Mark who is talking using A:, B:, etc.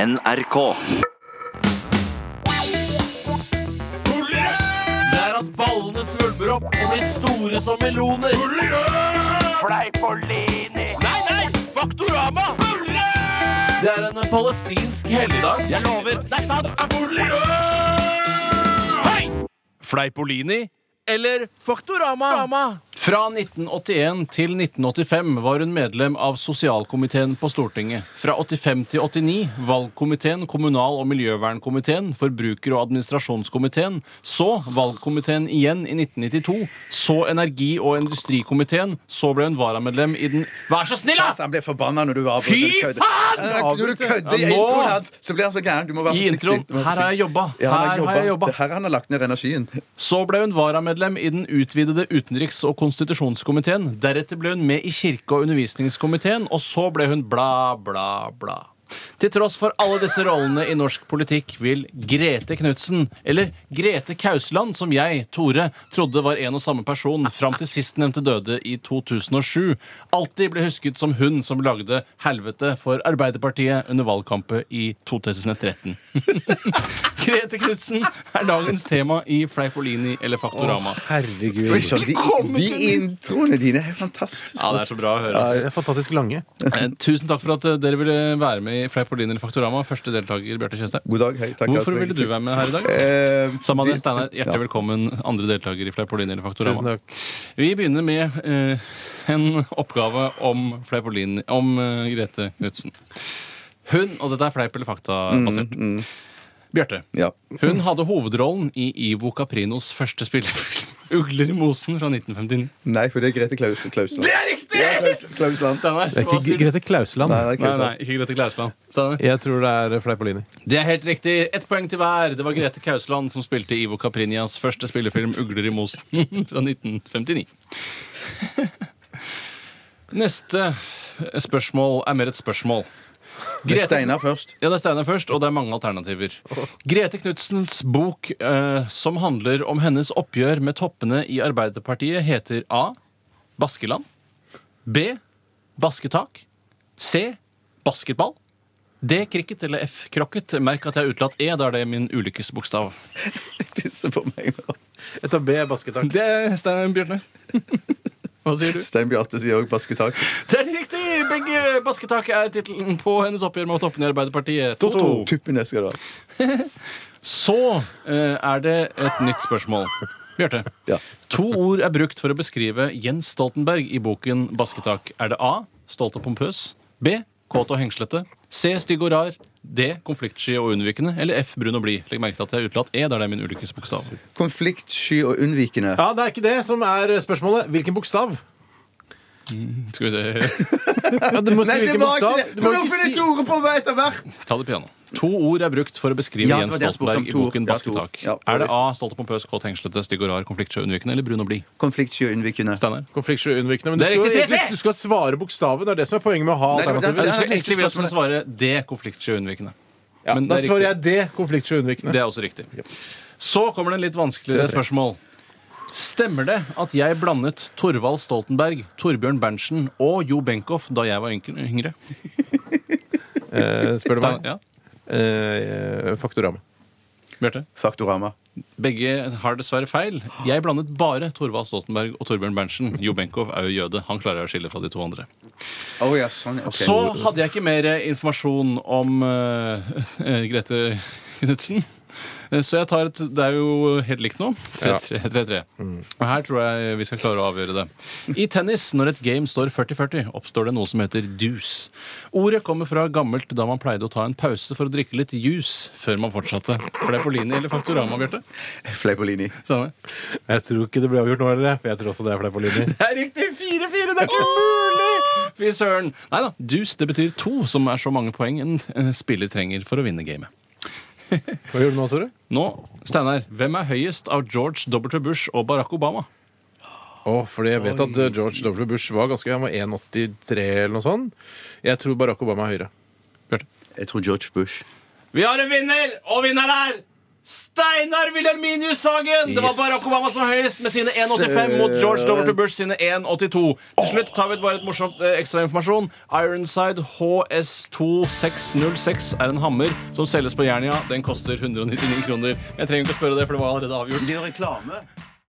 A: NRK.
B: Det er at ballene svulmer opp og blir store som meloner. Fleipolini. Nei, nei! Faktorama. Det er en palestinsk helligdag. Jeg lover. Det er sant. Hei! Fleipolini eller Faktorama?
C: Fra 1981 til 1985 var hun medlem av sosialkomiteen på Stortinget. Fra 85 til 89 valgkomiteen, kommunal- og miljøvernkomiteen, forbruker- og administrasjonskomiteen, så valgkomiteen igjen i 1992, så energi- og industrikomiteen, så ble hun varamedlem i den Vær så snill, da!
D: Altså, han ble forbanna når du avbrøt.
C: Fy
D: og kødde.
C: faen!
D: Ja, Når du kødder i
C: Ja, nå!
D: introen hans, så blir han så gæren. Du må være
C: I
D: forsiktig.
C: introen,
D: Du må
C: her
D: være
C: har jeg
D: forsiktig.
C: jobba.
D: Ja, han
C: Her har jeg jobba.
D: Det er her han har lagt ned energien.
C: Så ble hun varamedlem i den utvidede utenriks- og konstitusjonskomiteen. Deretter ble hun med i kirke- og undervisningskomiteen, og så ble hun bla, bla, bla. Til tross for alle disse rollene i norsk politikk vil Grete Knutsen, eller Grete Kausland, som jeg, Tore, trodde var en og samme person fram til sistnevnte døde i 2007, alltid bli husket som hun som lagde helvete for Arbeiderpartiet under valgkampet i 2013. Grete Knutsen er dagens tema i Fleipolini eller Faktorama.
E: Herregud.
D: Richard, de, de introene dine er fantastiske.
C: Ja, det er så bra å høre.
E: Ja,
C: ass.
E: det er Fantastisk lange.
C: Eh, Tusen takk for at eh, dere ville være med i Fleipolini eller Faktorama. Første deltaker, Bjarte Tjøstheim.
D: God dag. Hei, takk.
E: altså,
C: Hvorfor ville du være med her i dag?
E: Eh,
D: med?
C: Samane Steinar, hjertelig velkommen, andre deltaker i Fleipolini eller Faktorama.
E: Tusen takk.
C: Vi begynner med eh, en oppgave om Fleipolini, om eh, Grete Knutsen. Hun, og dette er fleip eller fakta-basert.
E: Mm,
C: Bjarte,
D: Ja.
C: hun hadde hovedrollen i Ivo Caprinos første spillefilm, 'Ugler i mosen', fra 1959.
D: Nei, for det er Grete Klaus, Klausland. Det er riktig! Ja, Klaus, Klausland.
C: Steinar,
E: Det er
C: hva
E: ikke
C: sier du?
E: G- Grete Klausland.
D: Nei, det er
C: Nei,
D: Klausland.
C: nei, ikke Grete Klausland. Steinar?
E: Jeg tror det er Fleipolini.
C: Det er helt riktig. Ett poeng til hver. Det var Grete Kausland som spilte Ivo Caprinias første spillefilm 'Ugler i mosen' fra 1959. Neste spørsmål er mer et spørsmål.
D: Det er
C: Grete-
D: Steinar først.
C: ja, det er Steinar først, og det er mange alternativer. Grete Knudsens bok eh, som handler om hennes oppgjør med toppene i Arbeiderpartiet, heter A. Baskeland. B. Basketak. C. Basketball. D. Cricket eller F. Krokket. Merk at jeg har utelatt E, da er det min ulykkesbokstav.
D: Tisse på meg nå.
E: Jeg tar B, basketak.
C: Det er Stein Bjørne. Hva sier du?
D: Stein Bjarte sier òg basketak.
C: Det er riktig! Begge basketak er tittelen på hennes oppgjør med toppene i Arbeiderpartiet. 2-2.
D: Tuppene skal du ha.
C: Så eh, er det et nytt spørsmål. Bjarte.
D: Ja.
C: To ord er brukt for å beskrive Jens Stoltenberg i boken Basketak. Er det A. Stolt og pompøs. B. Kåt og hengslete. C. Stygg og rar. D. Konfliktsky og unnvikende. Eller F. Brun og blid. Legg merke til at jeg har utelatt E. Der det er min ulykkesbokstav.
D: Konfliktsky og unnvikende.
E: Ja, Det er ikke det som er spørsmålet. Hvilken bokstav?
C: Skal vi se
E: Ja, du må si
D: Nei, det var ikke
E: hvilken bokstav.
D: det!
E: Du må
D: Hvorfor
E: ikke
D: det
E: si
D: ordet på vei etter hvert?
C: Ta det piano. To ord er brukt for å beskrive
D: Ja, det
C: Jens
D: var det jeg spurte om,
C: Stoltenberg i
D: to ord.
C: boken
D: Ja, to ord.
C: Basketak.
D: Ja,
C: er det A. Stolt og pompøs. Kåt og hengslete. Stygg og rar. Konfliktsky og unnvikende. Eller brun og blid.
D: Konfliktsky og unnvikende.
C: Steinar?
E: konfliktsky og unnvikende. Men du
C: Det er
E: skal,
C: riktig,
E: egentlig,
C: tre-tre!
E: du skal svare bokstaven. Det er det som er poenget med å ha
D: Nei, det
C: Så
D: var den-
E: alternativer.
C: jeg
D: det er
C: skulle egentlig vil at man
D: spørsmålet.
C: svarer D. Konfliktsky og unnvikende.
E: Ja,
C: men det
E: da
C: er
E: svarer
C: riktig.
E: jeg D, konfliktsky og unnvikende.
C: Det er også riktig. Så kommer det en litt vanskeligere spørsmål. Stemmer det at jeg blandet Torvald Stoltenberg, Torbjørn Berntsen og Jo Benkow da jeg var yngre- yngre?
E: Eh, spør du
C: Stein-
E: meg?
C: Ja.
E: Eh, Faktorama.
C: Bjarte?
D: Faktorama.
C: Begge har dessverre feil. Jeg blandet bare Torvald Stoltenberg og Torbjørn Berntsen. Jo Benkow er jo jøde. Han klarer å skille fra de to andre.
D: Å Oh ja, sånn. ja. Ok.
C: Så hadde jeg ikke mer eh, informasjon om eh, eh, Grete Knutsen. Eh, Så jeg tar et Det er jo helt likt nå. 3-3. Og Her tror jeg vi skal klare å avgjøre det. I tennis, når et game står 40-40, oppstår det noe som heter deuce. Ordet kommer fra gammelt da man pleide å ta en pause for å drikke litt juice før man fortsatte. Ble på linje eller Faktorama, Bjarte?
D: Fleipolini.
C: Steinar?
E: Jeg tror ikke det ble avgjort nå, eller? For jeg tror også det er Fleipolini.
C: Det er riktig! 4-4! Det er ikke mulig! Fy søren. Nei da. Deuce det betyr to, som er så mange poeng en eh, spiller trenger for å vinne gamet.
E: Hva gjorde du nå, Tore?
C: Nå, Steinar, hvem er høyest av George W. Bush og Barack Obama?
E: Oh, fordi jeg vet at eh, George W. Bush var ganske Han var 1,83 eller noe sånt. Jeg tror Barack Obama er høyere.
D: Jeg tror George Bush.
C: Vi har en vinner, og vinneren er Steinar Wilhelminius Sagen! Det var
E: Yes.
C: Barack Obama som høyest med sine 1,85 mot George W. Bush sine 1,82. Til slutt tar vi bare et morsomt eh, ekstrainformasjon. Ironside HS2606 er en hammer som selges på Jernia. Den koster 199 kroner. Jeg trenger ikke å spørre det, for det var allerede avgjort.
D: Det er reklame.